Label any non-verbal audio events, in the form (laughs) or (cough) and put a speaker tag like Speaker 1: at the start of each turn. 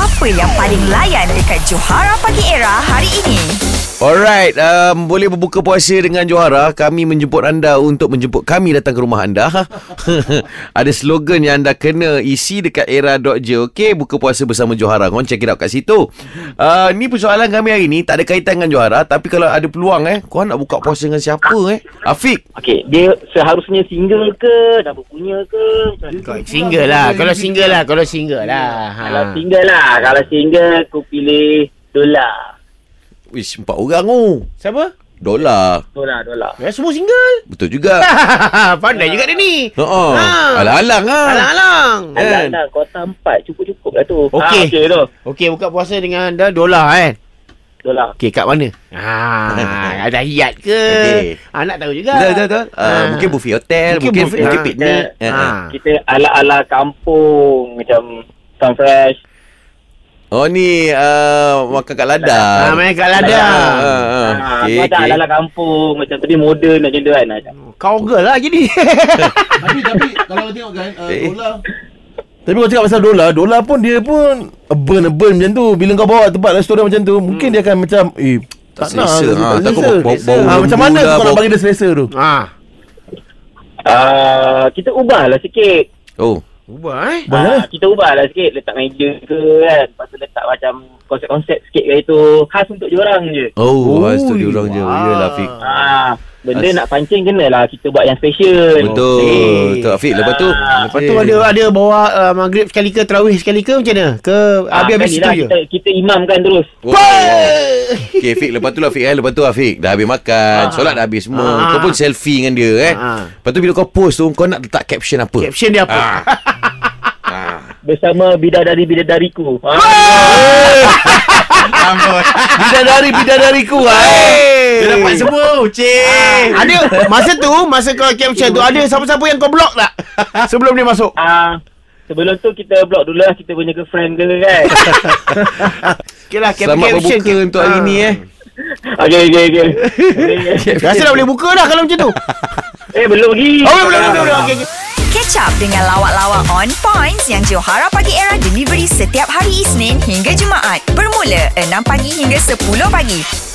Speaker 1: Apa yang paling layan dekat Johara Pagi Era hari ini?
Speaker 2: Alright, um, boleh berbuka puasa dengan Johara. Kami menjemput anda untuk menjemput kami datang ke rumah anda. (laughs) Ada slogan yang anda kena isi dekat era.je. Okey, buka puasa bersama Johara. Korang check it out kat situ. Uh, ni persoalan kami hari ni. Tak ada kaitan dengan Johara. Tapi kalau ada peluang eh. Korang nak buka puasa dengan siapa eh? Afiq.
Speaker 3: Okey, dia seharusnya single ke, dah berpunya ke? Macam mana?
Speaker 4: Single lah Kalau single lah Kalau single lah ha.
Speaker 3: Kalau single lah, kalau single aku pilih dolar.
Speaker 2: Wish, empat orang oh.
Speaker 4: Siapa?
Speaker 2: Dolar.
Speaker 3: Dolar, dolar.
Speaker 4: Ya, semua single
Speaker 2: Betul juga.
Speaker 4: (laughs) Pandai juga dia ni
Speaker 2: Uh-uh.
Speaker 4: Ha.
Speaker 2: Alang-alang lah.
Speaker 4: Alang-alang
Speaker 2: Kan?
Speaker 3: Alah lah, kota empat cukup-cukup lah tu.
Speaker 4: Okey.
Speaker 3: Ah, okey tu.
Speaker 4: Okey buka puasa dengan anda dolar kan
Speaker 3: Dolar.
Speaker 4: Okey kat mana? Ha,
Speaker 3: (laughs)
Speaker 4: ada hiat ke?
Speaker 2: Okey.
Speaker 4: Ha, nak tahu juga.
Speaker 2: Betul, betul, betul. Uh,
Speaker 4: Ah.
Speaker 2: mungkin buffet hotel,
Speaker 4: Mungkin
Speaker 2: mungkin, mungkin,
Speaker 4: buffet. Ah.
Speaker 2: piknik.
Speaker 3: Ya.
Speaker 2: Ah.
Speaker 4: Ha.
Speaker 3: Kita ala-ala kampung macam Sun Fresh.
Speaker 2: Oh ni uh, makan kat ladang.
Speaker 4: Ha, main kat
Speaker 2: Ah,
Speaker 4: ladang.
Speaker 2: ah, ah.
Speaker 3: Ah,
Speaker 2: Okey,
Speaker 3: okay,
Speaker 2: okey.
Speaker 3: ala-ala kampung macam tadi moden macam tu kan.
Speaker 4: Kau girl lah (laughs) jadi.
Speaker 5: tapi tapi kalau kau tengok kan uh,
Speaker 2: Eh.
Speaker 5: bola
Speaker 6: Tapi kau cakap pasal dolar Dolar pun dia pun Burn-burn macam tu Bila kau bawa tempat restoran macam tu Mungkin
Speaker 5: Hmm.
Speaker 6: dia akan macam Eh tak,
Speaker 2: Tak selesa, ha, takut
Speaker 6: selesa.
Speaker 2: bau- bau
Speaker 6: Ah, Macam
Speaker 2: lembu
Speaker 6: mana
Speaker 2: lah,
Speaker 6: kau nak
Speaker 2: bau-
Speaker 6: bagi dia selesa tu
Speaker 4: ha.
Speaker 3: Ah, kita ubahlah sikit.
Speaker 2: Oh.
Speaker 4: Ubah eh.
Speaker 6: Boleh.
Speaker 3: Ah,
Speaker 6: lah.
Speaker 3: kita ubahlah sikit letak meja ke kan. Lepas tu letak macam konsep-konsep sikit kat itu khas untuk diorang je.
Speaker 2: Oh,
Speaker 4: Ui,
Speaker 2: oh tu dia orang je.
Speaker 4: wah.
Speaker 2: Yalah Afiq.
Speaker 3: Ah, benda
Speaker 2: As-
Speaker 3: nak pancing kenalah kita buat yang special.
Speaker 2: Betul.
Speaker 4: Okey.
Speaker 2: Betul Afiq lepas tu.
Speaker 3: Ah.
Speaker 4: Lepas tu ada ada bawa uh, maghrib sekali ke tarawih sekali ke macam mana? Ke
Speaker 3: Ah,
Speaker 4: habis-habis itu
Speaker 3: sekali lah
Speaker 4: je.
Speaker 3: kita, kita imamkan terus.
Speaker 2: Wow. Okey Afiq lepas tu lah Afiq eh. Lepas tu Afiq dah habis makan, solat dah habis semua.
Speaker 4: Ah.
Speaker 2: Kau pun selfie dengan dia eh.
Speaker 4: Ah.
Speaker 2: Lepas tu bila kau post tu kau nak letak caption apa?
Speaker 4: (laughs)
Speaker 2: (laughs)
Speaker 4: Caption dia apa?
Speaker 2: Ah.
Speaker 3: Bersama bidadari bidadariku. Ah,
Speaker 4: Ha!
Speaker 6: Bidadari Bidadariku lah
Speaker 2: eh. Dia dapat semua, Ucik.
Speaker 4: Ah, Ada masa tu masa kau caption tu ada siapa-siapa yang kau block tak? Sebelum dia masuk.
Speaker 3: ah, sebelum tu kita block dulu lah kita punya girlfriend ke
Speaker 4: (laughs)
Speaker 3: kan.
Speaker 4: Okeylah cap-
Speaker 2: Selamat
Speaker 4: caption
Speaker 2: berbuka
Speaker 4: cap-
Speaker 2: untuk hari
Speaker 4: Ah.
Speaker 2: ni eh.
Speaker 3: okey, okey, okey. Okey.
Speaker 4: Rasa dah boleh buka dah kalau macam tu.
Speaker 3: eh, belum lagi. Ah.
Speaker 4: Oh, belum belum belum. Okey. okey.
Speaker 1: Catch up dengan lawak-lawak on points yang Johara Pagi Era delivery setiap hari Isnin hingga Jumaat bermula 6 pagi hingga 10 pagi.